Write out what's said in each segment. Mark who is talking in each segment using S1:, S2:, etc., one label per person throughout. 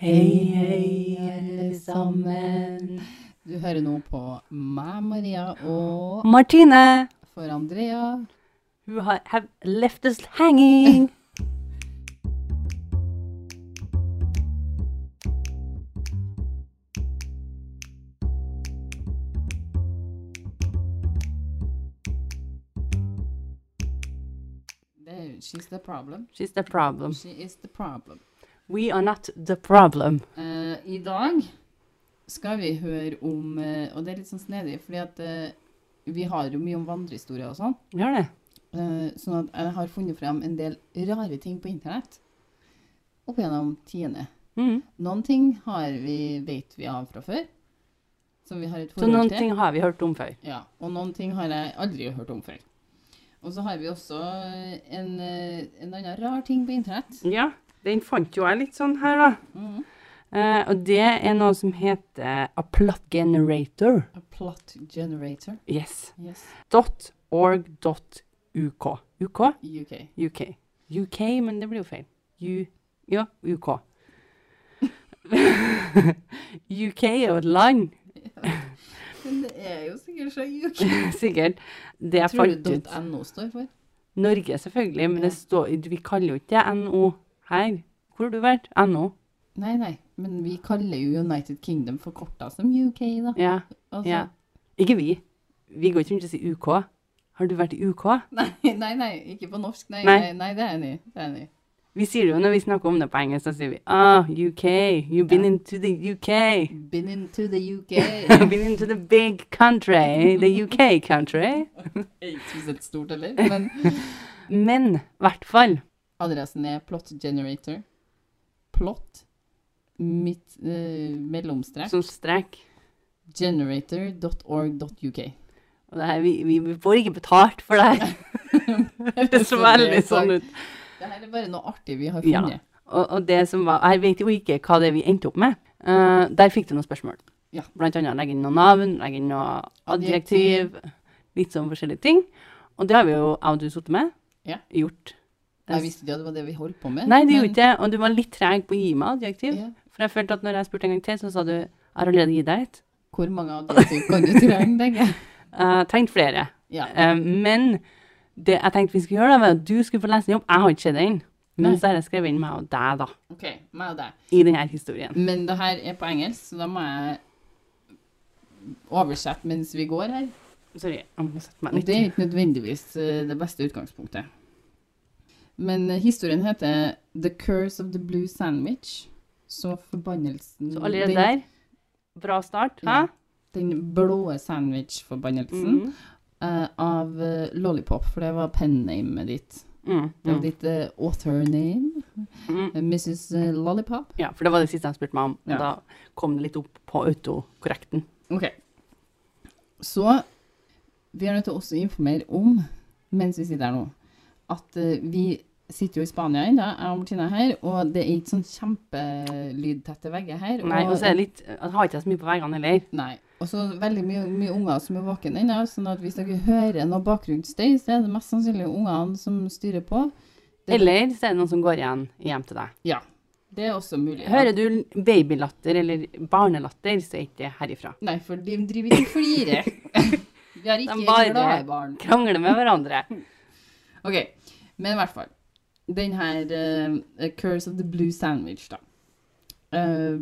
S1: Hei, hei, alle sammen.
S2: Du hører nå på meg, Maria, og
S1: Martine,
S2: for Andrea.
S1: who ha- have left us hanging.
S2: Det er jo She's the problem.
S1: She's the problem.
S2: She is the problem.
S1: We are not the problem.
S2: Eh, I dag skal vi høre om eh, Og det er litt sånn snedig, fordi at eh, vi har jo mye om vandrehistorier og sånn.
S1: Vi har det.
S2: Eh, sånn at jeg har funnet frem en del rare ting på internett opp gjennom tiende.
S1: Mm.
S2: Noen ting har vi, vet vi av fra før, som vi har et
S1: Så noen
S2: forhold til.
S1: ting har vi hørt om før.
S2: Ja, og noen ting har jeg aldri hørt om før. Og så har vi også en, eh, en annen rar ting på internett.
S1: Ja, den fant jo jeg litt sånn her, da.
S2: Mhm.
S1: Eh, og det er noe som heter a plot generator.
S2: A plot generator.
S1: Yes.
S2: Yes.
S1: Dot org dot UK. UK?
S2: UK.
S1: UK. UK, men det blir jo feil. U... Ja, UK. UK er jo et land.
S2: Men det er jo sikkert så UK.
S1: Sikkert. Det jeg
S2: Tror
S1: fant
S2: du
S1: ut
S2: .no står for?
S1: Norge, selvfølgelig, men
S2: Ja.
S1: det står, vi kaller jo ikke det NO her. Hvor har du vært? NO.
S2: Nei, nei. Men vi kaller jo United Kingdom forkorta som UK, da.
S1: Ja.
S2: Altså,
S1: ja. Ikke vi. Vi går ikke rundt og sier UK. Har du vært i UK?
S2: Nei, nei, nei, ikke på norsk. Nei,
S1: Nei.
S2: nei. nei det er jeg enig i. Det er jeg enig i.
S1: Vi sier det jo når vi snakker om det på engelsk, så sier vi ah, UK. You've been into the UK.
S2: Been into the UK.
S1: You've been into the big country. The UK country.
S2: Ikke spesielt stort heller, men
S1: Men i hvert fall
S2: Adressen er plot generator. Plot mitt eh, mellomstrek
S1: som strek.
S2: generator.org.uk.
S1: Og det her, vi, vi, vi får ikke betalt for det her. Det så veldig sånn ut.
S2: Det her er bare noe artig vi har
S1: Ja.
S2: funnet.
S1: Og, og det som var, jeg vet jo ikke hva det er vi endte opp med. Eh, der fikk du noen spørsmål.
S2: Ja.
S1: Blant annet legge inn noen navn, legge inn noe adjektiv, litt sånn forskjellige ting. Og det har vi jo jeg og du sittet med.
S2: Ja.
S1: Gjort.
S2: Jeg visste ikke at det var det vi holdt på med.
S1: Nei, du
S2: men-
S1: gjorde ikke det. Og du var litt treg på å gi meg adjektiv.
S2: Ja.
S1: For jeg følte at når jeg spurte en gang til, så sa du jeg har allerede gitt deg et.
S2: Hvor mange adjektiv kan du trenge, tenker jeg.
S1: Jeg trengte flere.
S2: Ja.
S1: Eh, men det jeg tenkte vi skulle gjøre, da, var at du skulle få lese den opp. Jeg har ikke sett den. Men
S2: Nei.
S1: så har jeg skrevet inn meg og deg, da,
S2: OK, meg og deg.
S1: i denne historien.
S2: Men det her er på engelsk, så da må jeg oversette mens vi går her.
S1: Sorry, jeg må sette meg
S2: Og
S1: litt.
S2: det er ikke nødvendigvis eh, det beste utgangspunktet. Men eh, historien heter The Curse of the Blue Sandwich. Så forbannelsen
S1: Så allerede
S2: den,
S1: der, bra start. Hæ? Mm.
S2: Ja. den blå sandwich-forbannelsen
S1: Mhm.
S2: eh, av eh, Lollipop, for det var pennamet ditt.
S1: Mm,
S2: Det var
S1: mm,
S2: ditt eh, author name,
S1: mm.
S2: eh, Mrs. eh, Lollipop.
S1: Ja, for det var det siste han spurte meg om.
S2: Ja.
S1: Og da kom det litt opp på autokorrekten.
S2: Ok. Så vi er nødt til å også informere om, mens vi sitter her nå, at eh, vi sitter jo i Spania ennå, jeg og Martina her, og det er ikke sånn kjempelydtette vegger her.
S1: Nei, og så er det litt Jeg har ikke så mye på veggene heller.
S2: Nei. Og så veldig mye, mye unger som er våkne ennå, sånn at hvis dere hører noe bakgrunnsstøy, så er det mest sannsynlig ungene som styrer på. Det-
S1: Eller så er det noen som går igjen hjem til deg.
S2: Det er også mulig.
S1: Hører du l- babylatter eller barnelatter, så er ikke det herifra.
S2: Nei, for de driver ikke og flirer. Vi har ikke
S1: bare-
S2: glade barn.
S1: Krangler med hverandre.
S2: Ok, men i hvert fall. Den her eh, Curse of the Blue Sandwich, da. Eh,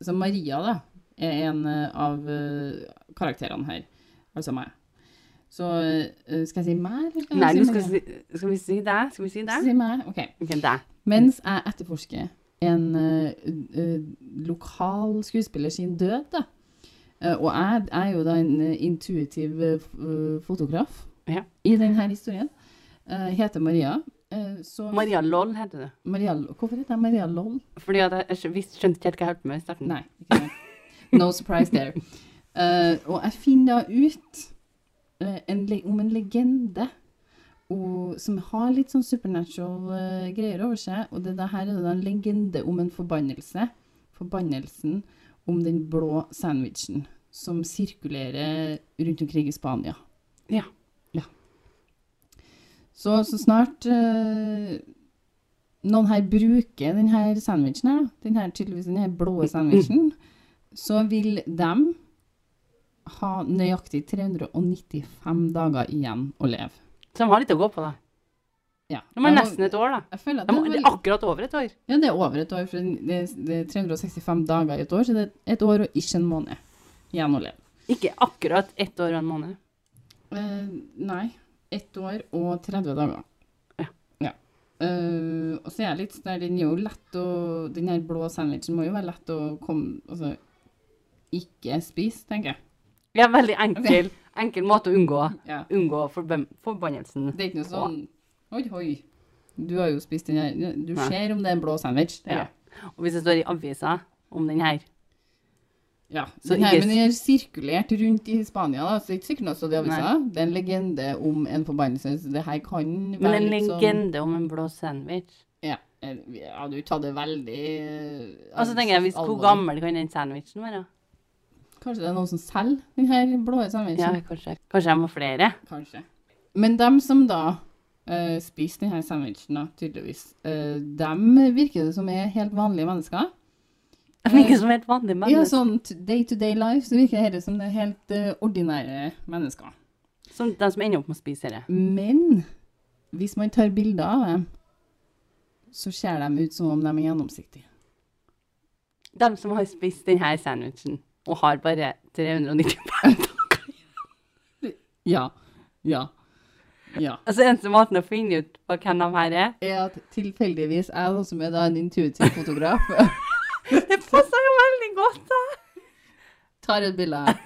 S2: så Maria, da, er en eh, av eh, karakterene her. Altså meg. Så eh, skal jeg si meg, eller skal
S1: Nei, du
S2: jeg
S1: skal,
S2: Maria?
S1: si, skal vi si deg? Skal vi si
S2: Skal
S1: deg?
S2: jeg si meg? Ok.
S1: Ok, deg.
S2: Mens jeg etterforsker en eh, eh, lokal skuespiller sin død, da. Eh, og jeg, jeg er jo da en eh, intuitiv eh, f- eh, fotograf
S1: Ja.
S2: i denne historien. Uh, heter Maria. eh, så
S1: Maria Loll heter du.
S2: Maria, hvorfor heter jeg Maria Loll?
S1: Fordi at jeg, jeg skjø- visste- skjønte ikke helt hva jeg holdt på med i starten.
S2: Nei, ikke sant. No surprise there. Eh, og jeg finner da ut eh, en, le- om en legende og, som har litt sånn supernatural eh, greier over seg. Og det, det her er da en legende om en forbannelse. Forbannelsen om den blå sandwichen som sirkulerer rundt omkring i Spania.
S1: Ja.
S2: Ja. Så, så snart eh, noen her bruker denne sandwichen her, da, den her, tydeligvis den her
S1: Mm.
S2: blå sandwichen, så vil de ha nøyaktig 395 dager igjen å leve.
S1: Så de har litt å gå på, da.
S2: Ja.
S1: De har
S2: jeg må-
S1: nesten et år, da.
S2: Jeg føler at
S1: De
S2: det
S1: har,
S2: er
S1: det
S2: vel-
S1: er akkurat over et år.
S2: Ja, det er over et år, for det er, det er 365 dager i et år, så det er et år og ikke en måned igjen å leve.
S1: Ikke akkurat ett år og en måned.
S2: Eh, nei, ett år og 30 dager.
S1: Ja.
S2: Eh, og så er jeg litt sånn der, den er jo lett å, den her blå sandwichen må jo være lett å komme, altså, ikke spise, tenker jeg.
S1: Ja, veldig enkel, enkel måte å unngå,
S2: Ja.
S1: unngå forben- forbannelsen.
S2: Det er ikke noe sånn, oi, oi, du har jo spist den her, du
S1: Nei.
S2: ser om det er en blå sandwich. tenker
S1: Ja.
S2: jeg.
S1: Og hvis det står i avisa om den her
S2: Ja,
S1: Så
S2: den her,
S1: ikke-
S2: men den er sirkulert rundt i Spania, da, så det er ikke sikkert noe så det avisa. Det er en legende om en forbannelse, så det her kan være
S1: Men en
S2: litt sånn-
S1: legende om en blå sandwich
S2: Ja, eh, jeg hadde jo tatt det veldig eh,
S1: Altså tenker jeg, hvis, Hvor
S2: alvorlig.
S1: gammel kan den sandwichen være?
S2: Kanskje det er noen som selger den her blå
S1: Ja,
S2: sandwichen?
S1: Kanskje Kanskje jeg må flere?
S2: Kanskje. Men dem som da eh, spiser den her sandwichen, da, tydeligvis, eh, dem virker det som er helt vanlige mennesker.
S1: Ikke som helt vanlige
S2: Ja,
S1: mennesker.
S2: sånn t- day to day life, så virker det som det er helt eh, ordinære mennesker.
S1: Som de som ender opp med å spise det.
S2: Men hvis man tar bilder av dem, så ser de ut som om de er gjennomsiktige.
S1: De som har spist denne sandwichen og har bare 395 dager.
S2: Ja. Ja. Ja.
S1: Altså, eneste måten å finne ut på hvem de her er
S2: Er at tilfeldigvis jeg, da, som er da en intuitiv fotograf,
S1: Det passer jo veldig godt, da!
S2: tar et bilde her.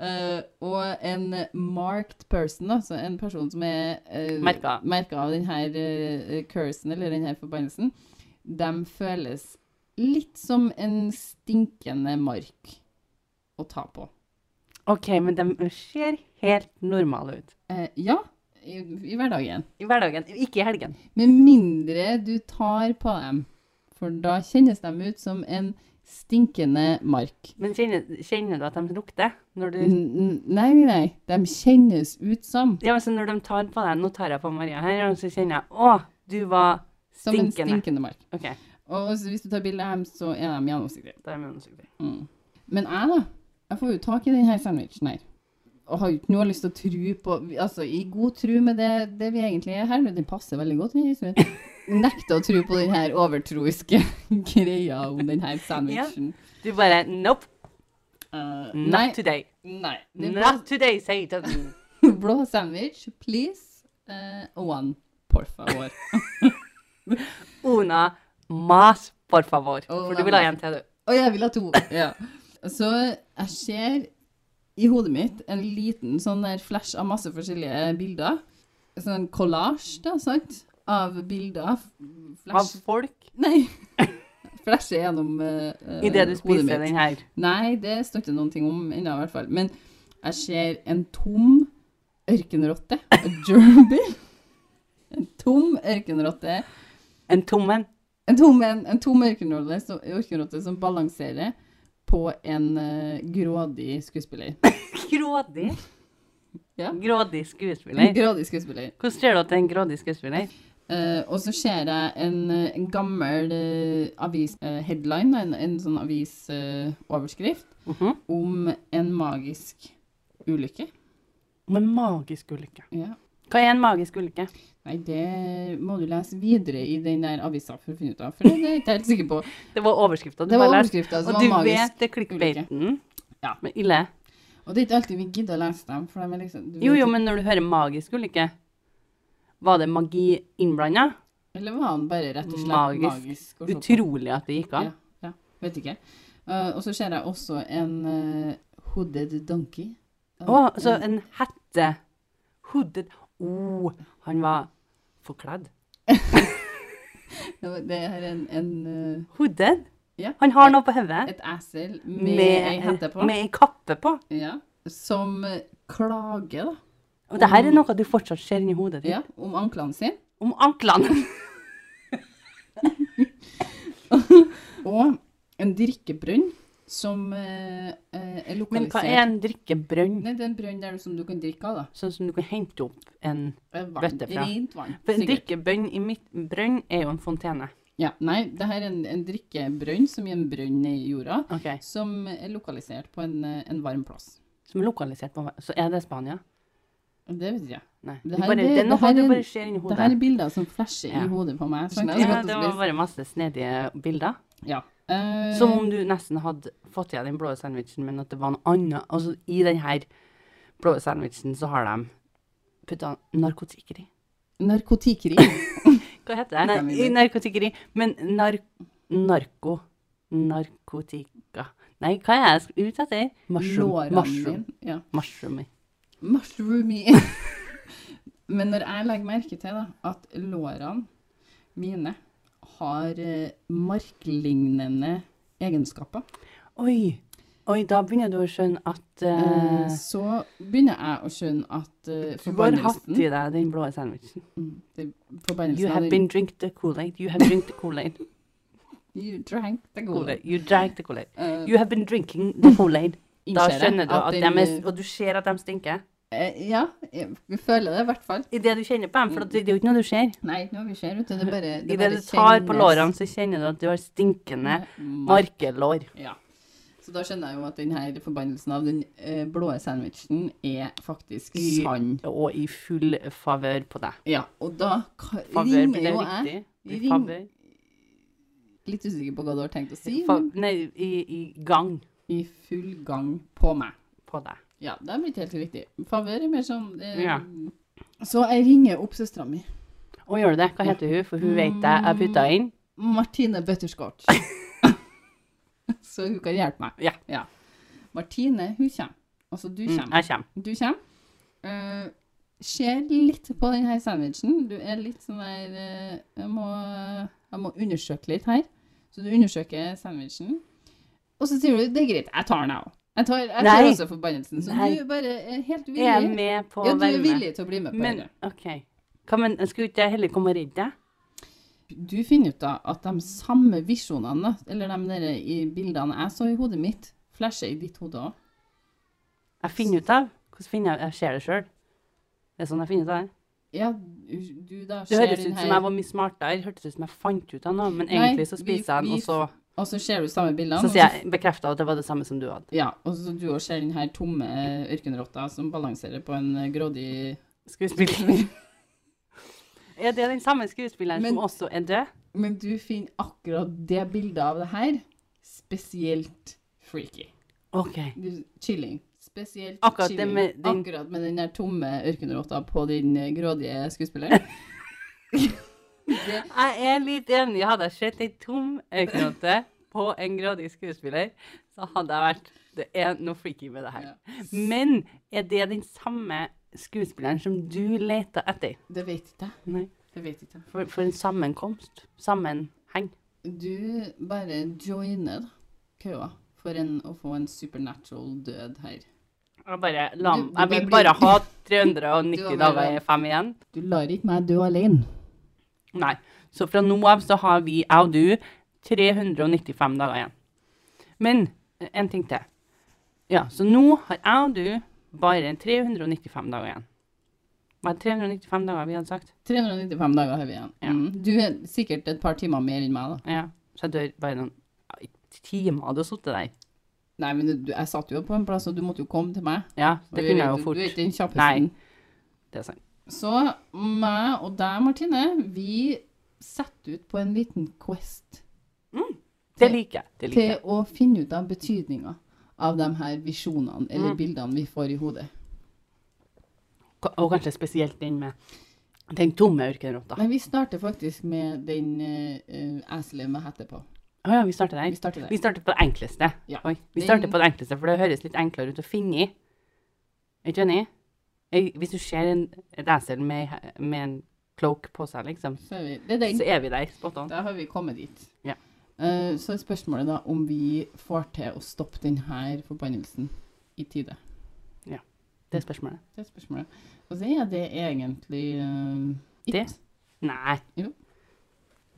S2: Eh, og en marked person, altså en person som er uh,
S1: Merket.
S2: av denne uh, cursen, eller denne forbannelsen, de føles litt som en stinkende mark å ta på.
S1: OK, men de ser helt normale ut.
S2: Eh, ja, i, i hverdagen.
S1: I hverdagen, ikke i helgen.
S2: Med mindre du tar på dem, for da kjennes de ut som en stinkende mark.
S1: Men kjenner, kjenner du at de lukter? Når du,
S2: N n- nei, nei, nei, de kjennes ut som,
S1: ja, men så når de tar på deg Nå tar jeg på Maria her, og så kjenner jeg Å, du var
S2: som en
S1: stinkende.
S2: stinkende mark.
S1: OK.
S2: Og så hvis du tar bilde av dem, så er de gjennomsiktige.
S1: Da er vi undersøkte.
S2: Mm. Men jeg, da? Jeg får jo tak i denne sandwichen her. Og har jo ikke noe lyst til å tro på Altså, i god tro med det, det vi egentlig er her, men den passer veldig godt. den historien. Nekter å tro på den her overtroiske greia om den her sandwichen.
S1: Du bare Nope.
S2: Eh,
S1: Not
S2: nei.
S1: today.
S2: nei. Det er
S1: Not today, sier Tøtten.
S2: blå, blå sandwich, please. Eh, one, por favor.
S1: Una, mas, por favor. For
S2: Una
S1: du vil ha
S2: mas.
S1: en til, du.
S2: Og jeg vil ha to. Ja. Så jeg ser i hodet mitt en liten sånn der flash av masse forskjellige bilder. Sånn collage, da, sant? Av bilder.
S1: Av
S2: F- Flash.
S1: folk.
S2: Nei. Flashe gjennom eh, eh,
S1: Idet du
S2: hodet
S1: spiser den her.
S2: Nei, det står ikke noen ting om ennå, i hvert fall. Men jeg ser en tom ørkenrotte. A Gerbil. En tom ørkenrotte.
S1: En tom en.
S2: En tom, en, en tom ørkenrotte, som, ørkenrotte som balanserer på en eh, grådig skuespiller.
S1: Grådig.
S2: Ja.
S1: Grådig
S2: En
S1: skuespiller.
S2: grådig skuespiller.
S1: Hvordan ser du at det er en grådig skuespiller?
S2: Eh, og så ser jeg en, eh, en gammel eh, avis-headline, en, en sånn avisoverskrift,
S1: Mhm.
S2: om en magisk ulykke.
S1: Med magisk ulykke.
S2: Ja.
S1: Hva er en magisk ulykke?
S2: Nei, det må du lese videre i den der avisa for å finne ut av, for det er jeg ikke helt sikker på.
S1: Det var overskrifta.
S2: Det var overskrifta som
S1: Og du
S2: var magisk.
S1: vet det er clickbaiten.
S2: Ja.
S1: Men ille.
S2: Og det er ikke alltid vi gidder å lese dem, for de er liksom du
S1: Jo,
S2: vet
S1: jo,
S2: ikke-
S1: men når du hører magisk ulykke, var det magi innblanda?
S2: Eller var han bare rett og slett
S1: Magisk.
S2: magisk? å se på?
S1: Utrolig at det gikk av.
S2: Ja, ja. Vet ikke. Eh, og så ser jeg også en eh, hooded donkey. Eh,
S1: Å, så en hette. Hooded. Å, han var forkledd.
S2: en- Eh, Det er en, en eh,
S1: Hooded?
S2: Ja.
S1: Han har noe på hodet.
S2: et esel med ei hette på,
S1: Med ei kappe på.
S2: ja, som eh, klager da,
S1: Og det her er noe du fortsatt ser inni hodet ditt.
S2: ja, om anklene sine.
S1: Om anklene.
S2: Og en drikkebrunn som eh, eh, er
S1: Men
S2: lokalisert
S1: hva er en drikkebrønn?
S2: Nei, det er en brønn der som du kan drikke av, da.
S1: Sånn som du kan hente opp en
S2: Eh, Vann.
S1: Bøtte fra.
S2: Rent vann.
S1: For en
S2: sikkert.
S1: drikkebrønn i mitt brønn er jo en fontene.
S2: Ja, nei, det her er en, en drikkebrønn som er en brønn i jorda,
S1: Ok.
S2: som er lokalisert på en, eh, en varm plass.
S1: Som er lokalisert på Så er det Spania?
S2: Det vet jeg.
S1: Nei.
S2: Det
S1: Det,
S2: her
S1: bare,
S2: er-
S1: det, er
S2: det her
S1: noe
S2: er-
S1: du bare ser inni
S2: Det
S1: hodet.
S2: her er altså. bilder som flasher
S1: Ja.
S2: i hodet på meg. sant? Jeg
S1: Ja,
S2: skal
S1: det
S2: til å
S1: var
S2: spise-
S1: bare masse snedige bilder.
S2: ja. Eh,
S1: Som om du nesten hadde fått i deg den blå sandwichen, men at det var noe annet. Altså, I den her blå sandwichen så har de putta narkotikker i.
S2: Narkotikeri.
S1: Hva heter det?
S2: Nei,
S1: Nei, i narkotikker i. Men nar narko Narkotika. Nei, hva er jeg sk- ute etter? Mushroom.
S2: Lårene
S1: Mushroom.
S2: dine. Ja.
S1: Mushroom.
S2: Mushroomy. Men når jeg legger merke til da, at lårene mine har eh, marklignende egenskaper,
S1: Oi. Oi, da begynner du å skjønne at
S2: eh,
S1: eh,
S2: så begynner jeg å skjønne at eh,
S1: Du har hatt
S2: forbannelsen
S1: i deg den blå sandwichen.
S2: Mm, det-
S1: You
S2: Forbannelsen av
S1: have
S2: den
S1: been drink the Kool-Aid. You have drink the Kool-Aid.
S2: You drank the
S1: Kool-Aid.
S2: Kool-Aid.
S1: You drank the Kool-Aid.
S2: Eh,
S1: You have been drinking the Kool-Aid. Da
S2: innser jeg
S1: skjønner du at
S2: den,
S1: de er Og du ser at de stinker.
S2: eh, Ja, jeg jeg føler det i hvert fall.
S1: I det du kjenner på dem, for at det det er jo ikke noe du ser.
S2: Nei, nå vi ser ut, det er bare
S1: I det
S2: bare
S1: du tar på
S2: kjennes-
S1: lårene, så kjenner du at du har stinkende
S2: Mark.
S1: markelår.
S2: Ja. Så da skjønner jeg jo at denne forbannelsen av den eh, blå sandwichen er faktisk
S1: I-
S2: sann.
S1: Og i full favør på deg.
S2: Ja, og da ka-
S1: Favør,
S2: ringer
S1: blir det
S2: jo jeg
S1: riktig? Blir
S2: ring-
S1: favør?
S2: Litt usikker på hva du har tenkt å si,
S1: Fa
S2: men
S1: nei, i, i gang
S2: i full gang på meg.
S1: på deg.
S2: Ja, det er blitt helt riktig. Favør er mer sånn eh,
S1: Ja.
S2: Så jeg ringer opp søstera mi.
S1: Og gjør du det? Hva heter hun? For hun vet jeg er putta inn.
S2: Mm. Martine Butterscotch. så hun kan hjelpe meg.
S1: Ja.
S2: Martine, hun kommer. Altså, du
S1: Mm,
S2: kommer.
S1: jeg kommer.
S2: Du kommer. eh, ser litt på denne sandwichen. Du er litt sånn der eh, jeg, må, jeg må undersøke litt her. Så du undersøker sandwichen. Og så sier du det er greit, jeg tar den, jeg òg. Jeg tar, jeg tar
S1: Nei.
S2: også forbannelsen. Så
S1: Nei.
S2: du bare er helt villig.
S1: Er jeg med på å
S2: ja, du er
S1: være med?
S2: villig til å bli med på
S1: Men
S2: det.
S1: OK. Hva, men skulle ikke jeg heller komme og redde deg?
S2: Du finner ut da at de samme visjonene, da, eller de der i bildene jeg så i hodet mitt, flasher i ditt hode òg.
S1: Jeg finner ut av Hvordan finner jeg Jeg ser det sjøl. Det er sånn jeg finner ut av det.
S2: Ja, du da
S1: Det
S2: ser
S1: høres
S2: den
S1: ut
S2: her-
S1: som jeg var mye smartere. Hørtes ut som jeg fant ut av noe, men
S2: Nei,
S1: egentlig så
S2: vi-
S1: spiser jeg den,
S2: vi-
S1: og så,
S2: Og så ser du samme bildene.
S1: så
S2: og
S1: sier jeg bekrefta at det var det samme som du hadde.
S2: Ja, og så du også ser den her tomme eh, ørkenrotta som balanserer på en eh, grådig
S1: Skuespiller. er det den samme skuespilleren
S2: Men-
S1: som også er død?
S2: Men du finner akkurat det bildet av det her spesielt freaky.
S1: OK.
S2: Du, chilling. Spesielt
S1: Akkurat det
S2: chilling.
S1: med den-
S2: Akkurat med den der tomme ørkenrotta på den eh, grådige skuespilleren. det,
S1: Jeg er litt enig. Hadde jeg sett ei tom øyeknote på en grådig skuespiller, så hadde jeg vært Det er noe freaky med det her.
S2: ja,
S1: Men er det den samme skuespilleren som du leter etter?
S2: det vet ikke jeg.
S1: Nei.
S2: Det vet ikke jeg.
S1: For, for en sammenkomst. Sammenheng.
S2: Du bare joiner da, køa for en, å få en supernatural død her.
S1: Jeg bare la
S2: Du- du
S1: Jeg vil
S2: bare
S1: bare
S2: blir-
S1: ha 390
S2: Du var
S1: dager
S2: veldig-
S1: i fem igjen.
S2: Du lar ikke meg dø alene.
S1: Nei. Så fra nå av så har vi, jeg og du, 395 dager igjen. Men eh, en ting til. Ja, så nå har jeg og du bare 395 dager igjen. Hva er 395 dager vi hadde sagt?
S2: 395 dager har vi igjen.
S1: Ja.
S2: Mm. Du er sikkert et par timer mer enn meg, da.
S1: Ja, så jeg dør bare noen ja, i timer hadde jeg sittet der.
S2: Nei, men du, jeg satt jo på en plass, og du måtte jo komme til meg.
S1: Ja, det
S2: Og du er
S1: kunne jeg jo
S2: ikke- Du er
S1: fort.
S2: ikke den
S1: Nei.
S2: kjappeste.
S1: Det er sant.
S2: Så meg og deg, Martine, vi setter ut på en liten quest
S1: Det liker jeg. Det liker
S2: til
S1: jeg.
S2: å finne ut av betydninga av de her visjonene eller
S1: Mm.
S2: bildene vi får i hodet.
S1: Ka- Og kanskje spesielt den med den tomme ørkenrotta. Å
S2: Men vi starter faktisk med den eh, eh, jeg slev med hette på.
S1: ja, vi starter
S2: Vi
S1: der.
S2: starter der.
S1: Vi starter på det enkleste.
S2: Ja.
S1: Oi, vi
S2: Den-
S1: starter på det enkleste, for det høres litt enklere ut å finne i. Er du ikke enig? Jeg- Hvis du ser en et esel med, med en cloak på seg, liksom,
S2: Så er vi, det er den.
S1: så er vi der, spot on.
S2: Da har vi kommet dit.
S1: Ja.
S2: Eh, så er spørsmålet da om vi får til å stoppe denne forbannelsen i tide.
S1: Det er spørsmålet.
S2: Det er spørsmålet. Og så er det egentlig eh, it.
S1: Det? Nei.
S2: Jo.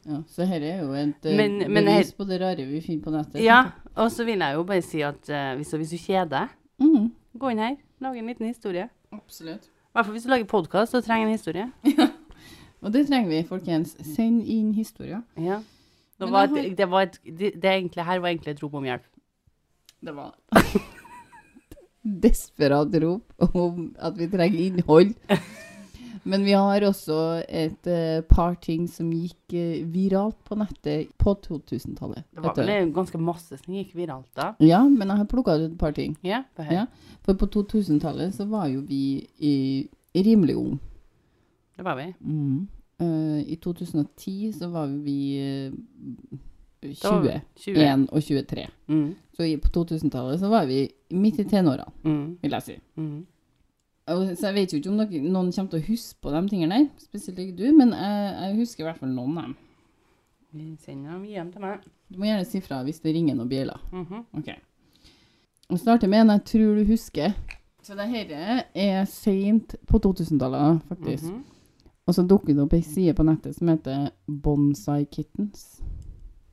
S2: Ja, så dette er jo et eh,
S1: Men- men
S2: bevis på det rare vi finner på nettet.
S1: Ja, og så vil jeg jo bare si at eh, hvis, hvis du kjeder deg,
S2: Mhm,
S1: gå inn her, lage en liten historie.
S2: absolutt.
S1: I hvert fall hvis du lager podkast og trenger en historie.
S2: Og det trenger vi, folkens. Send inn historier.
S1: Ja. Det,
S2: Men
S1: var
S2: jeg
S1: et, det, var et, det, det egentlig her var egentlig et rop om hjelp.
S2: Det var Desperat rop om at vi trenger innhold. Men vi har også et eh, par ting som gikk eh, viralt på nettet på 2000-tallet.
S1: Det var
S2: Dette-
S1: vel ganske masse som gikk viralt da.
S2: Ja, men jeg har plukka ut et par ting.
S1: Ja, på her.
S2: Ja. For på 2000-tallet så var jo vi i, rimelig unge.
S1: Det var vi.
S2: Eh, I 2010 så var vi eh,
S1: Da var vi 20.
S2: 20, 21 og 23.
S1: Mm,
S2: Så i, på 2000-tallet så var vi midt i tenårene,
S1: mm,
S2: vil jeg si.
S1: mm.
S2: Og, så jeg vet jo ikke om dere, noen kommer til å huske på de tingene der, spesielt ikke du, men jeg, jeg husker i hvert fall noen av dem.
S1: Vi sender dem hjem til meg.
S2: Du må gjerne si fra hvis det ringer noen bjeller.
S1: Mhm.
S2: Ok. Vi starter med en jeg tror du husker. Så det her er seint på 2000-tallet, faktisk.
S1: Mhm.
S2: Og så dukker det opp ei side på nettet som heter Bonsai Kittens.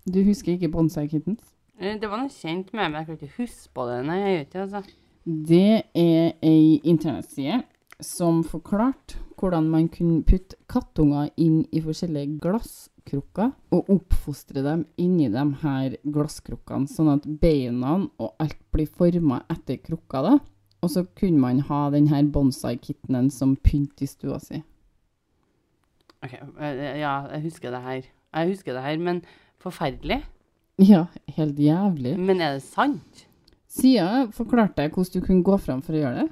S2: Du husker ikke Bonsai Kittens?
S1: Eh, Det var noe kjent med meg, jeg kan ikke huske på det. Nei, jeg gjør ikke det, altså.
S2: Det er ei internettside som forklarte hvordan man kunne putte kattunger inn i forskjellige glasskrukker og oppfostre dem inni de her glasskrukkene, sånn at beina og alt blir forma etter krukka. da. Og så kunne man ha den her bonsai-kittenen som pynt i stua si.
S1: Ok, eh, ja, jeg husker det her. Jeg husker det her, men forferdelig.
S2: Ja, helt jævlig.
S1: Men er det sant?
S2: Sida forklarte jeg hvordan du kunne gå fram for å gjøre det,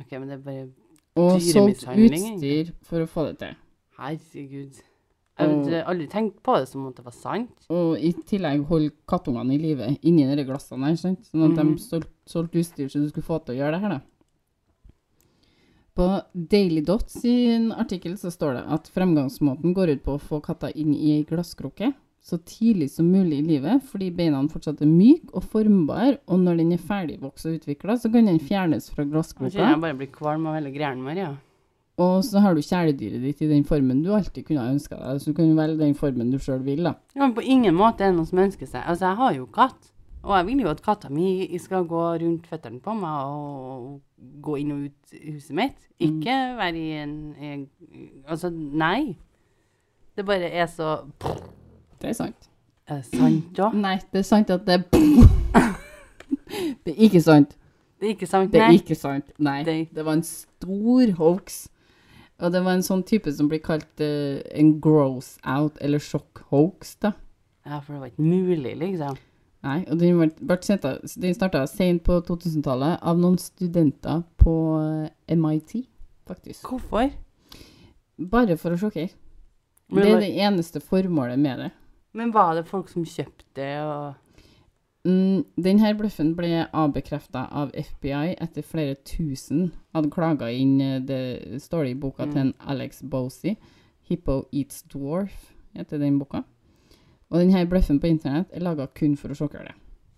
S1: Ok, men det er bare,
S2: og solgt
S1: Dyremishandling,
S2: utstyr for å få det til.
S1: herregud. Jeg
S2: Og-
S1: hadde aldri tenkt på det som om det var sant.
S2: Og i tillegg holde kattungene i live inni de glassene her, sant? sånn at
S1: Mhm.
S2: de solgte solgte utstyr så du skulle få til å gjøre det her, da. På Daily Dot sin artikkel så står det at fremgangsmåten går ut på å få katta inn i ei glasskrukke så tidlig som mulig i livet, fordi beina fortsatt er myke og formbar, og når den er ferdigvokst og utvikla, så kan den fjernes fra
S1: Jeg
S2: glasskrukka.
S1: kjenner jeg bare blir kvalm av hele greien min, ja.
S2: Og så har du kjæledyret ditt i den formen du alltid kunne ha ønska deg. Så du kan velge den formen du sjøl vil, da.
S1: Ja, men på ingen måte er det noe som ønsker seg. Altså, jeg har jo katt. Og jeg vil jo at katta mi skal gå rundt føttene på meg og gå inn og ut huset mitt.
S2: Mm.
S1: Ikke være i en, en Altså, nei. Det bare er så
S2: Det er sant.
S1: Er det sant, da?
S2: Nei, det er sant at det er Det er ikke sant.
S1: Det er ikke sant,
S2: Det er
S1: nei.
S2: ikke sant. Nei.
S1: Det er-
S2: Det var en stor hoax. Og det var en sånn type som blir kalt eh, en gross out, eller sjokk hoax, da.
S1: Ja, for det var ikke mulig, liksom.
S2: Nei, og den, ble- ble sendt- den starta sent på 2000-tallet av noen studenter på eh, MIT, faktisk.
S1: Hvorfor?
S2: Bare for å sjokkere.
S1: Men,
S2: Det er
S1: var-
S2: det eneste formålet med det.
S1: men var det folk som kjøpte det, og
S2: Mm, den her bløffen ble avbekrefta av FBI etter flere tusen hadde klaga inn eh, det står det i boka
S1: Mm.
S2: til en Alex Bosey. 'Hippo Eats Dwarf' heter den boka. Og den her bløffen på internett er laga kun for å sjokkere det.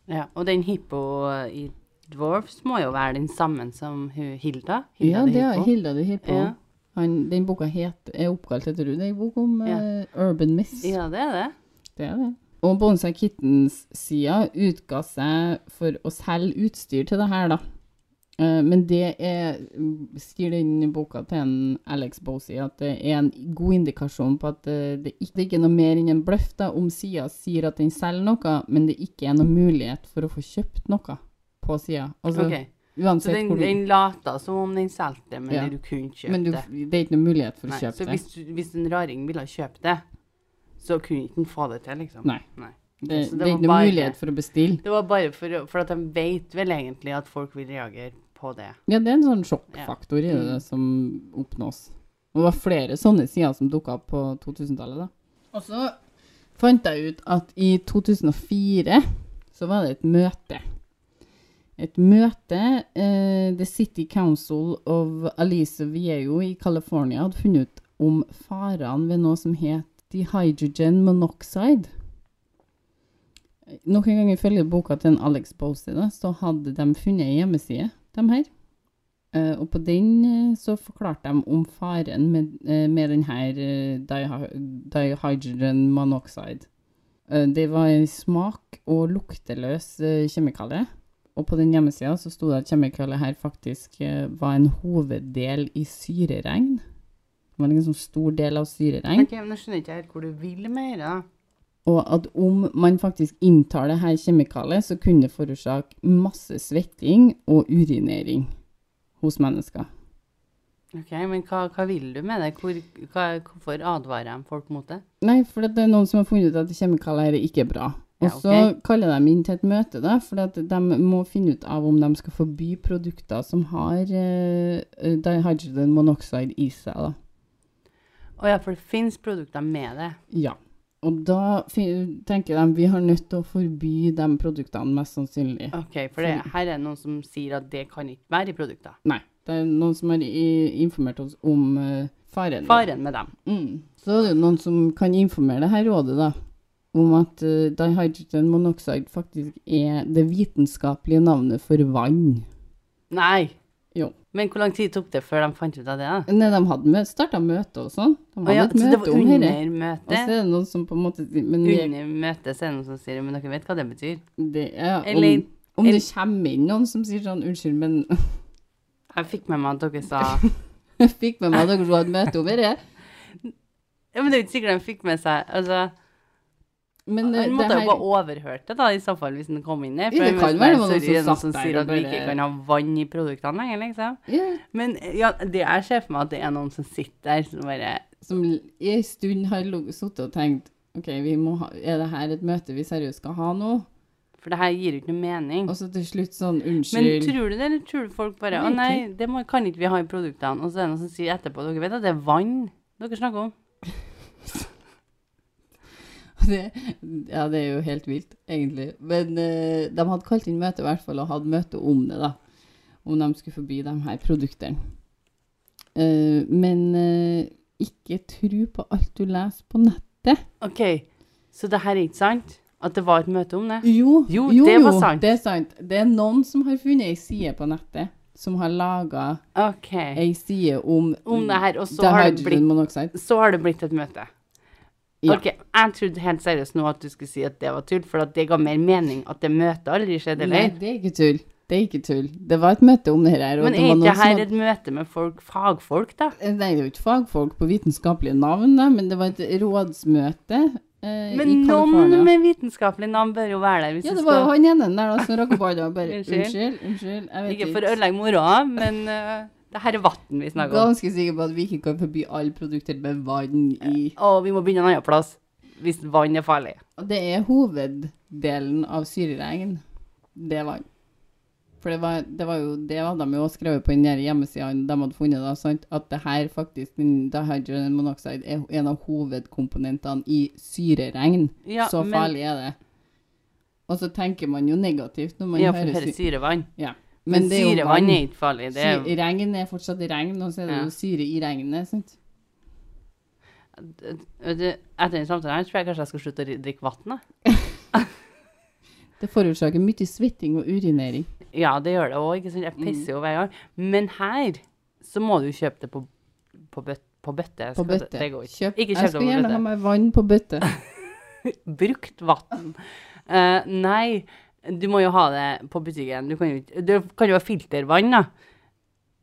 S1: ja, Og den hippo i Dwarfs må jo være den samme som hun Hilda? Hilda
S2: Ja,
S1: the
S2: det er
S1: Hippo.
S2: Hilda the Hippo.
S1: Ja.
S2: Han, den boka het, er oppkalt etter henne. Det er en bok om
S1: Ja.
S2: eh, urban myths.
S1: Ja, det er det.
S2: Det er det. Og Bonsai Kittens-sida utga seg for å selge utstyr til det her, da. Eh, Men det er, sier den boka til en Alex Bosey, at det er en god indikasjon på at eh, det ikke, det ikke er noe mer enn en bløff da, om sida sier at den selger noe, men det ikke er noen mulighet for å få kjøpt noe på sida. Altså,
S1: Ok. Så
S2: uansett
S1: den,
S2: hvor du
S1: den lata som om den solgte det, men
S2: Ja.
S1: du kunne kjøpe
S2: Men du,
S1: det.
S2: det er ikke noen mulighet for å
S1: Nei,
S2: kjøpe
S1: så
S2: det.
S1: hvis, du- hvis en raring ville kjøpe det, så kunne ikke den få det til, liksom.
S2: Nei.
S1: så
S2: Det,
S1: det
S2: det er
S1: var
S2: ikke noen
S1: bare-
S2: mulighet for å bestille.
S1: Det var bare for, å- for at de vet vel egentlig at folk vil reagere på det.
S2: Ja, det er en sånn sjokkfaktor i det
S1: Mm.
S2: som oppnås. Og det var flere sånne sider som dukka opp på 2000-tallet, da. Og så fant jeg ut at i 2004 så var det et møte. Et møte eh, The City Council of Aliso Viejo i California hadde funnet ut om farene ved noe som het dehydrogen monoxide. Noen ganger ifølge boka til en Alex Bosey da, så hadde de funnet en hjemmeside, de her, Eh, og på den eh, så forklarte de om faren med, eh, med denne dihydrogen monoxide. Eh, det var en smak- og lukteløs eh, kjemikalie. Og på den hjemmesida så sto det at kjemikaliet her faktisk eh, var en hoveddel i syreregn. Det var en sånn stor del av syreregn.
S1: Ok, men Nå skjønner jeg ikke helt hvor du vil med det. da.
S2: Og at om man faktisk inntar det her kjemikaliet, så kunne det forårsake masse svetting og urinering hos mennesker.
S1: Ok, Men hva, hva vil du med det? Hvor, hva, hvorfor advarer de folk mot det?
S2: Nei, for at det er noen som har funnet ut at kjemikalier er ikke bra. Og
S1: Ja, ok.
S2: så kaller de inn til et møte, da, for at de må finne ut av om de skal forby produkter som har eh, dihydrogen monoxide i seg. da.
S1: Å ja, for det fins produkter med det.
S2: Ja. Og da fin- tenker de vi har nødt til å forby de produktene, mest sannsynlig.
S1: Ok, For det, her er det noen som sier at det kan ikke være i produkter.
S2: Nei. Det er noen som har i- informert oss om eh, faren. da.
S1: Faren med dem.
S2: Mm. Så er det jo noen som kan informere det her rådet, da, om at eh, dihydrogen monoxide faktisk er det vitenskapelige navnet for vann.
S1: Nei!
S2: Jo.
S1: Men hvor lang tid tok det før de fant ut av det? da?
S2: Nei, de hadde mø starta møte og sånn. De
S1: Å
S2: hadde
S1: ja,
S2: et
S1: så det var
S2: møte om dette.
S1: under
S2: Og så
S1: møtet?
S2: er det Altså, noen som på en måte sier Men det,
S1: Under møtet så er det noen som sier Men dere vet hva det betyr?
S2: det er om,
S1: Eller-
S2: om det kommer inn noen som sier sånn Unnskyld, men
S1: Jeg fikk med meg at dere sa
S2: jeg fikk med meg at dere hadde møte over det.
S1: Ja, men det er jo ikke sikkert de fikk med seg Altså,
S2: Men eh,
S1: han
S2: det
S1: måtte jo
S2: her
S1: bare overhørt det, da, i så fall, hvis han kom inn der.
S2: Ja, det
S1: han
S2: kan
S1: var
S2: være
S1: sånn,
S2: noen
S1: «Sorry,
S2: som
S1: det er noen
S2: satt
S1: som
S2: der
S1: sier
S2: og
S1: at vi ikke
S2: bare-
S1: kan ha vann i produktene lenger, liksom.
S2: ja,
S1: Men ja, det jeg ser for meg, at det er noen som sitter der som bare
S2: som i en stund har sittet og tenkt OK, vi må ha, er det her et møte vi seriøst skal ha nå?
S1: For det her gir jo ikke noe mening.
S2: Og så til slutt sånn,
S1: Mm. Men
S2: unnskyld.
S1: tror du det, eller tror du folk bare
S2: Jeg
S1: Å
S2: vet
S1: nei, det må, kan ikke vi ha i produktene. Og så er det noen som sier etterpå Dere vet at det er vann dere snakker om?
S2: det, ja, det er jo helt vilt, egentlig. Men eh, de hadde kalt inn møte i hvert fall, og hadde møte om det, da. Om de skulle forby de her produktene. Eh, men eh, ikke tro på alt du leser på nett.
S1: OK, så det her er ikke sant? At det var et møte om det?
S2: Jo,
S1: Jo, det var sant.
S2: Det er sant. Det er noen som har funnet ei side på nettet, som har laga
S1: OK.
S2: ei side om,
S1: Om det her, og så har det blitt
S2: dihydrogen monoxide.
S1: så har det blitt et møte.
S2: Ja.
S1: Ok, Jeg trodde helt seriøst nå at du skulle si at det var tull, for at det ga mer mening at det møtet aldri skjedde,
S2: Nei,
S1: eller?
S2: det er ikke tull. Det er ikke tull. Det var et møte om det her. og
S1: Men
S2: det
S1: er
S2: var
S1: ikke
S2: noen
S1: det
S2: som hadde-
S1: her et møte med folk, fagfolk, da?
S2: Eh, Nei, det er jo ikke fagfolk på vitenskapelige navn, da, men det var et rådsmøte eh, i
S1: Men noen
S2: California.
S1: med vitenskapelig navn bør jo være der. hvis
S2: Ja,
S1: du
S2: det var jo
S1: skal...
S2: han ene der da, som rakk opp hånda og bare
S1: Unnskyld.
S2: Unnskyld, unnskyld, jeg vet
S1: Ikke
S2: ikke.
S1: for å ødelegge moroa, men eh, det her er vann vi snakker om.
S2: Ganske sikker på at vi ikke kan forby alle produkter med vann i.
S1: Og vi må begynne en annen plass hvis vann er farlig.
S2: Og det er hoveddelen av syreregn, det er vann. For det var, det var jo det hadde de jo også skrevet på den der hjemmesida de hadde funnet, da, sant? at det her faktisk, den dihydrogen monoxide, er en av hovedkomponentene i syreregn.
S1: Ja,
S2: så
S1: men-
S2: farlig er det. Og så tenker man jo negativt når man
S1: Ja, for
S2: hører
S1: det her er
S2: syre.
S1: syrevann.
S2: Ja.
S1: Men,
S2: det er jo
S1: syrevann
S2: vann.
S1: er ikke farlig. Det er,
S2: Sy- Regn er fortsatt regn, og så er det
S1: Ja.
S2: jo syre i regnet. sant?
S1: Vet du, etter den samtalen her tror jeg kanskje jeg skal slutte å drikke vann.
S2: Det forårsaker mye svetting og urinering.
S1: Ja, det gjør det òg. ikke sant? Jeg
S2: Mm.
S1: pisser jo hver gang. Men her så må du kjøpe det på, på, bøt, på bøtte. Skal
S2: På
S1: det-
S2: bøtte.
S1: Det går ikke.
S2: Kjøp.
S1: Ikke
S2: jeg
S1: kjøp det
S2: skal
S1: på
S2: gjerne
S1: bøtte.
S2: ha meg vann på bøtte.
S1: Brukt vann. Eh, nei, du må jo ha det på butikken. Du kan jo ikke Du kan jo ha filtervann, da.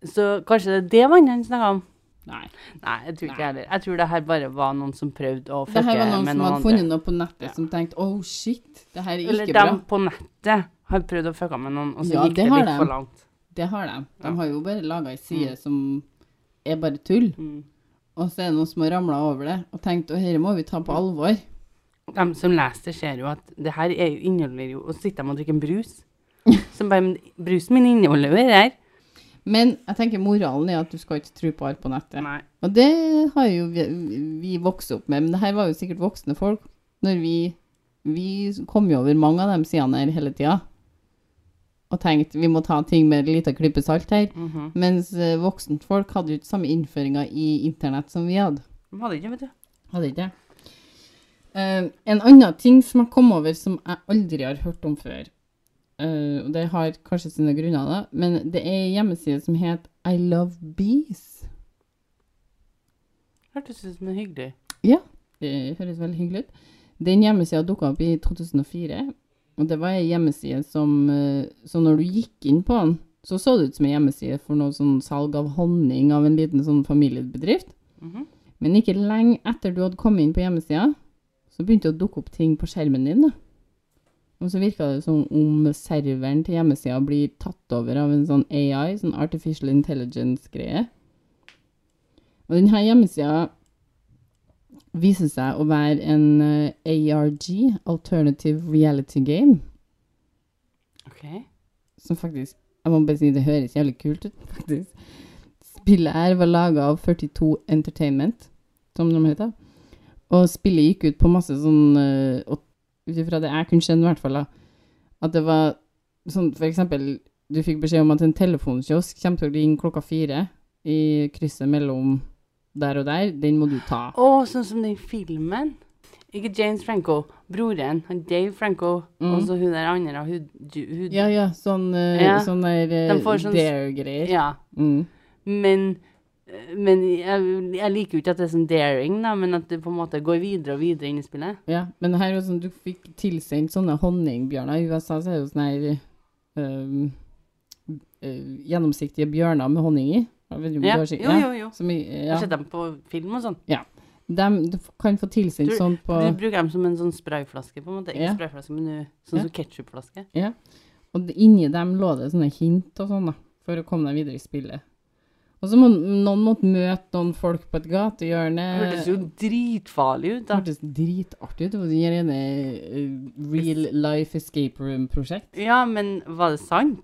S1: Så kanskje det er det vannet han snakker om?
S2: Nei.
S1: Nei, jeg tror ikke
S2: Nei.
S1: jeg heller. Jeg tror det her bare var noen som prøvde å
S2: Det
S1: fucke
S2: her var noen
S1: med
S2: som
S1: noen
S2: hadde
S1: andre.
S2: funnet noe på nettet
S1: Ja.
S2: som tenkte oh shit, det her er ikke
S1: Eller
S2: bra.
S1: dem på nettet har prøvd å fucke med noen, og så
S2: Ja,
S1: gikk
S2: det
S1: det,
S2: har
S1: litt
S2: dem.
S1: for langt.
S2: Det har de. De
S1: Ja.
S2: har jo bare laga ei side som er bare tull.
S1: Mm.
S2: Og så er det noen som har ramla over det og tenkt å dette må vi ta på alvor.
S1: De som leser det, ser jo at det her er, jo- inneholder jo Og så sitter de og drikker en brus. Som bare "Men Brusen min inneholder jo det her.
S2: Men jeg tenker moralen er at du skal ikke tro på alt på nettet.
S1: Nei.
S2: Og det har jo vi, vi vokst opp med, men det her var jo sikkert voksne folk. Når vi, vi kom jo over mange av de sidene her hele tida og tenkte vi må ta ting med en liten klype salt her.
S1: Mhm.
S2: Mens eh, voksne folk hadde jo ikke samme innføringa i internett som vi hadde.
S1: De hadde ikke, vet du.
S2: Hadde ikke det. Eh, en annen ting som jeg kom over som jeg aldri har hørt om før, eh, og det har kanskje sine grunner, da, men det er en hjemmeside som heter I Love Bees.
S1: Hørtes ut som det er hyggelig.
S2: Det høres veldig hyggelig ut. Den hjemmesida dukka opp i 2004, og det var ei hjemmeside som eh, Så når du gikk inn på den, så så det ut som ei hjemmeside for noe sånn salg av honning av en liten sånn familiebedrift.
S1: Mhm.
S2: Men ikke lenge etter du hadde kommet inn på hjemmesida, så begynte det å dukke opp ting på skjermen din. da. Og så virka det som om serveren til hjemmesida blir tatt over av en sånn AI, sånn artificial intelligence-greie. Og denne hjemmesida viser seg å være en eh, ARG, Alternative Reality Game,
S1: OK.
S2: som faktisk Jeg må bare si det høres jævlig kult ut, faktisk. Spillet her var laga av 42 Entertainment, som de heter. Og spillet gikk ut på masse sånn eh, og Ut ifra det jeg kunne skjønne, i hvert fall, da, at det var sånn For eksempel, du fikk beskjed om at en telefonkiosk kommer til å ringe klokka fire i krysset mellom der og der. Den må du ta.
S1: Å, sånn som den filmen. Ikke James Franco, broren. Han Dave Franco,
S2: Mm.
S1: og så hun der andre. Hun, ju- hun,
S2: Ja, ja, sånn, eh,
S1: Ja.
S2: sånn der eh,
S1: De får sånn-
S2: dare-greier.
S1: ja.
S2: Mm.
S1: Men, men jeg, jeg liker jo ikke at det er sånn daring, da, men at det på en måte går videre og videre inn i spillet.
S2: Ja, men her er jo sånn, du fikk tilsendt sånne honningbjørner. I USA så er det jo sånne her øhm, øh, gjennomsiktige bjørner med honning i. Jeg vet ikke om du
S1: Ja.
S2: har sett-
S1: Jo,
S2: ja,
S1: jo, jo.
S2: Som, i-
S1: Jeg
S2: ja.
S1: har sett dem på film og sånn.
S2: Dem- du f- kan få tilsendt
S1: Tror-
S2: sånn på
S1: Du bruker dem som en sånn sprayflaske, på en måte. Ikke
S2: Ja.
S1: sprayflaske, men du- sånn som ketchupflaske.
S2: Og det- inni dem lå det sånne hint og sånn, da, for å komme deg videre i spillet. Og så må noen måtte møte noen folk på et
S1: Det
S2: gatehjørne.
S1: hørtes jo dritfarlig ut, da.
S2: Det hørtes dritartig ut. Det var det her ene øh, Real Life Escape Room-prosjekt.
S1: Ja, men var det sant?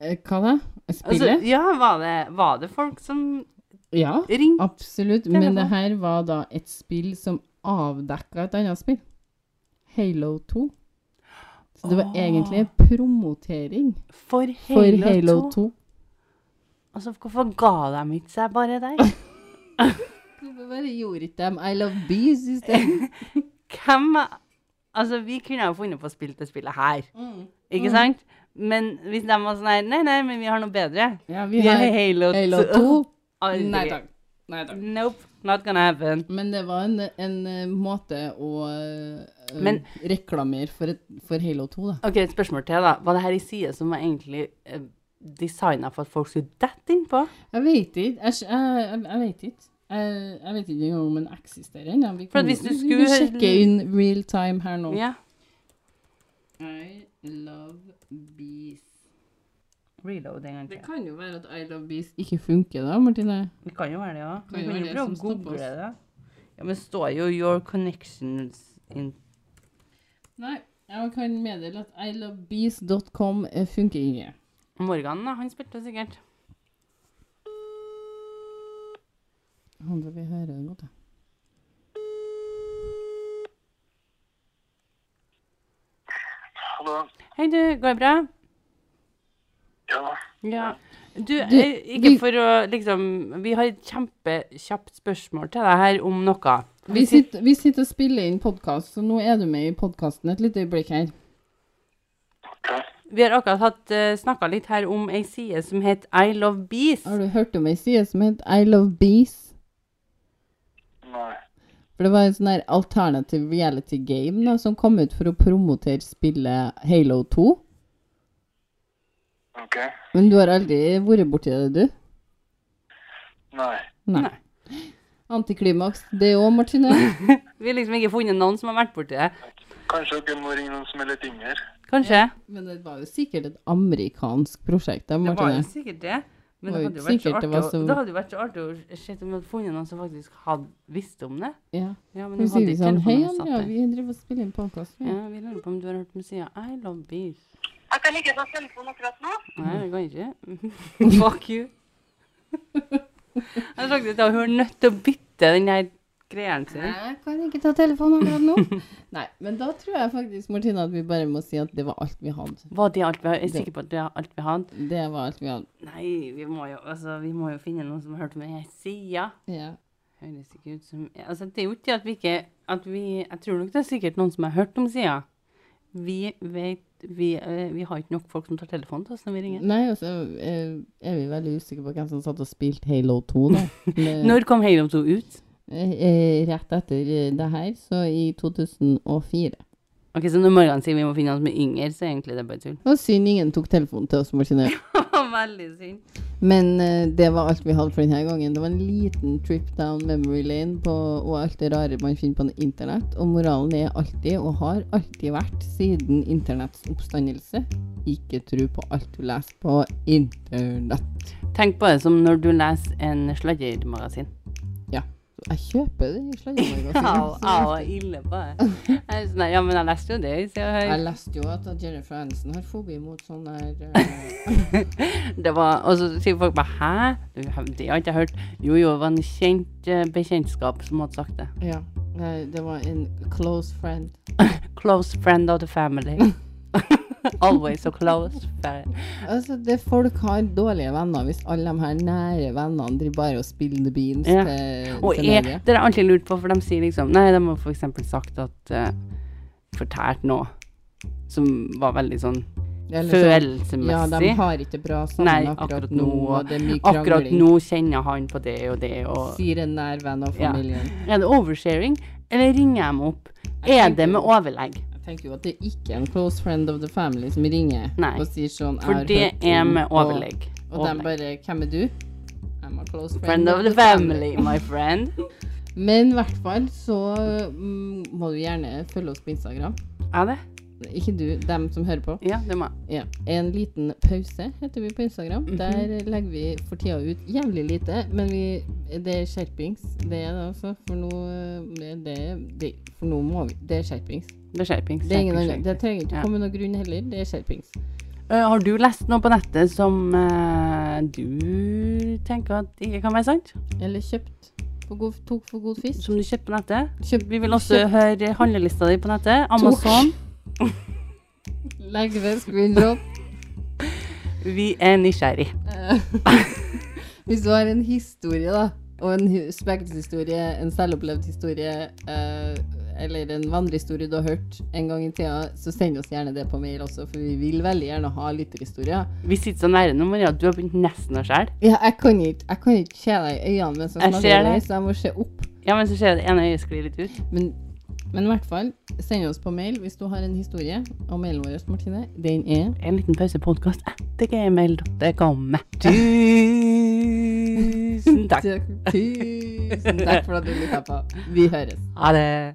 S2: Eh, Hva da?
S1: Altså,
S2: Spillet?
S1: ja, var det, var det folk som
S2: ja.
S1: ringte?
S2: Absolutt,
S1: Det er
S2: men
S1: bra.
S2: det her var da et spill som avdekka et annet spill. Halo 2. Så det var
S1: Åh.
S2: egentlig en promotering
S1: For
S2: Ah. for
S1: Halo, 2?
S2: Halo 2.
S1: Altså, hvorfor ga de ikke seg bare der?
S2: Hvorfor bare gjorde ikke dem I Love Bees i stedet?
S1: Hvem Altså, vi kunne ha funnet på å spille det spillet her,
S2: Mm.
S1: ikke sant? Men hvis de var sånn her Nei, nei, men vi har noe bedre.
S2: Ja, vi
S1: Vi har
S2: har
S1: Halo,
S2: Halo
S1: 2.
S2: 2.
S1: Aldri.
S2: Nei takk. Nei takk.
S1: Nope, not gonna happen.
S2: Men det var en, en eh, måte å eh,
S1: Men-
S2: reklamere for, et, for Halo 2, da.
S1: OK, et spørsmål til, da. Var det her i side som var egentlig eh, designa for at folk skulle dette innpå?
S2: Jeg vet ikke. Jeg, skj- jeg, jeg, jeg vet ikke. Jeg, jeg vet ikke engang om den eksisterer ennå. Vi
S1: For at
S2: kan-
S1: hvis du
S2: vi- Vi
S1: skulle-
S2: kan sjekke inn real time her nå.
S1: Ja.
S2: I love bees.
S1: Reload en gang
S2: Det
S1: til.
S2: kan jo være at I love bees ikke funker da, Martine.
S1: Det kan jo være det, ja.
S2: Kan jo
S1: Vi kan
S2: være
S1: jo prøve
S2: det som
S1: å
S2: stopper
S1: google
S2: oss.
S1: det. Ja, men det står jo 'Your connections in
S2: Nei, jeg kan meddele at ilovebees.com eh, funker ikke.
S1: Morgan', da. Han spilte sikkert.
S2: Håper vi hører det godt, da.
S3: Hallo.
S1: Hei, du. Går det bra?
S3: Ja.
S1: Ja. Du,
S2: Du,
S1: eh, ikke
S2: vi-
S1: for å liksom Vi har et kjempekjapt spørsmål til deg her om noe.
S2: Vi sitter, vi sitter og spiller inn podkast, så nå er du med i podkasten et lite øyeblikk her.
S3: Ok.
S1: Vi har akkurat hatt uh, snakka litt her om ei side som heter I Love Bees.
S2: Har du hørt om ei side som heter I love bees?
S3: Nei.
S2: For det var en sånn her alternativ reality game da, som kom ut for å promotere spillet Halo 2.
S3: Ok.
S2: Men du har aldri vært borti det, du?
S3: Nei.
S2: Nei. Antiklimaks, det òg, Martine.
S1: Vi har liksom ikke funnet noen som har vært borti det.
S3: Kanskje dere må ringe noen som er litt yngre.
S1: Kanskje.
S2: Men det var jo sikkert et amerikansk prosjekt, da,
S1: Det var jo
S2: Martine.
S1: sikkert det. Men det
S2: Det var jo
S1: hadde jo vært så
S2: sikkert
S1: artig,
S2: det var
S1: å-
S2: så-
S1: det hadde jo vært så artig å se om vi hadde funnet noen som faktisk hadde visst om det.
S2: Ja.
S1: Ja, men
S2: Så
S1: de hadde
S2: sier vi
S1: ikke
S2: sånn Hei,
S1: telefonen satt
S2: Andrea,
S1: der.
S2: vi driver og spiller inn podkast.
S1: Ja, vi lurer på om du har hørt om sida I love bees.
S4: Jeg kan ikke ta telefonen akkurat nå.
S1: Nei, det kan jeg ikke. Fuck you. Jeg har sagt det til henne, hun er nødt til å bytte den der greien sin.
S2: Jeg kan ikke ta telefonen akkurat nå. Nei, men da tror jeg faktisk, Martine, at vi bare må si at det var alt vi hadde.
S1: Var det alt vi hadde? Jeg er sikker på at det var alt vi hadde.
S2: Det var alt vi hadde.
S1: Nei, vi må jo, altså, vi må jo finne noen som har hørt om den sida.
S2: Ja.
S1: Høres ikke ut som Altså, det er jo ikke at vi ikke at vi, Jeg tror nok det er sikkert noen som har hørt om sida. Vi vet vi, eh, vi har ikke nok folk som tar telefonen til oss når vi ringer.
S2: Nei, altså, eh, er vi veldig usikre på hvem som satt og spilte Halo 2, da. Men,
S1: Når kom Halo 2 ut?
S2: eh, eh, rett etter eh, det her, så i 2004.
S1: Ok, Så når Morgan sier vi må finne noen som er yngre, så er egentlig det bare tull.
S2: Og synd ingen tok telefonen til oss, Martine.
S1: Veldig synd.
S2: Men eh, det var alt vi hadde for denne gangen. Det var en liten trip down memory lane på, og alt det rare man finner på internett. Og moralen er alltid, og har alltid vært, siden internetts oppstandelse, ikke tro på alt du leser på internett.
S1: Tenk på det som når du leser en sladremagasin.
S2: Jeg kjøper det i
S1: Au, au,
S2: sladremagasinet.
S1: ille på det. Jeg er sånn der, Ja, men jeg leste jo det i Se og
S2: Jeg
S1: Hør.
S2: leste jo at Jennifer Aniston har fobi mot sånn der eh,
S1: Det var, og så sier folk bare 'hæ?' Du, Det har ikke jeg hørt. Jo, jo, det var en kjent eh, bekjentskap som hadde sagt det.
S2: Ja. eh, Det var en close friend.
S1: Close friend of the family. Always so close. friend.
S2: Altså, det folk har dårlige venner hvis alle de her nære vennene driver bare og spiller the beans
S1: Ja.
S2: til,
S1: Og
S2: til
S1: jeg,
S2: Norge.
S1: det har jeg alltid lurt på, for de sier liksom Nei, de har for eksempel sagt at eh, Fortært noe som var veldig sånn
S2: Eller sånn, Ja, de
S1: følelsesmessig.
S2: har ikke det bra sammen
S1: Nei,
S2: akkurat,
S1: akkurat
S2: nå,
S1: nå,
S2: og det er mye krangling.
S1: Akkurat nå kjenner han på det og det, og
S2: Sier en nær venn av
S1: Ja.
S2: familien.
S1: Er det oversharing, eller ringer jeg dem opp?
S2: Jeg
S1: Er det
S2: tenker
S1: med
S2: jo-
S1: overlegg?
S2: Jeg tenker jo at det er ikke en close friend of the family som ringer
S1: Nei,
S2: og sier sånn jeg
S1: For
S2: har
S1: det
S2: hørt
S1: er
S2: om-
S1: med overlegg.
S2: Og, og de
S1: Overlegg.
S2: bare Hvem er du? I'm a close friend,
S1: Friend of the family, my friend.
S2: Men i hvert fall så mm, må du gjerne følge oss på Instagram.
S1: Er det?
S2: Ikke du, dem som hører på.
S1: Ja, det må jeg.
S2: Ja. En liten pause heter vi på Instagram. Der legger vi for tida ut jævlig lite, men vi, det er skjerpings. Det er det altså. For nå, eh, det, det, for nå må vi Det er skjerpings.
S1: Det er skjerpings.
S2: Det, er ingen,
S1: skjerpings,
S2: annen- det
S1: skjerpings.
S2: trenger ikke
S1: Ja.
S2: komme noen grunn heller. Det er skjerpings.
S1: Eh, Har du lest noe på nettet som eh, du tenker at ikke kan være sant?
S2: Eller kjøpt. For god, tok for god fisk.
S1: Som du kjøpte på nettet?
S2: Kjøpt-
S1: Vi vil også
S2: kjøpt-
S1: høre handlelista di på nettet. Amazon.
S2: Legg ved screenshot.
S1: Vi er nysgjerrig.
S2: Eh, Hvis du har en historie, da, og en hu- spøkelseshistorie, en selvopplevd historie, eh, eller en vandrehistorie du har hørt en gang i tida, så send oss gjerne det på mail også, for vi vil veldig gjerne ha lytterhistorier.
S1: Vi sitter så nære nå, Maria. Du har begynt nesten å skjære.
S2: Ja, jeg kan ikke, jeg kan ikke se deg i øynene mens jeg
S1: Jeg
S2: snakker,
S1: ser
S2: til deg,
S1: det.
S2: så jeg må se opp.
S1: Ja, men så ser jeg det ene øyet sklir litt ut.
S2: Men, men i hvert fall, send oss på mail hvis du har en historie, og mailen vår, Martine, den er
S1: En liten pausepodkast etter gmail.com. Tusen takk.
S2: Tusen takk for at du lytta på. Vi høres.
S1: Ha det.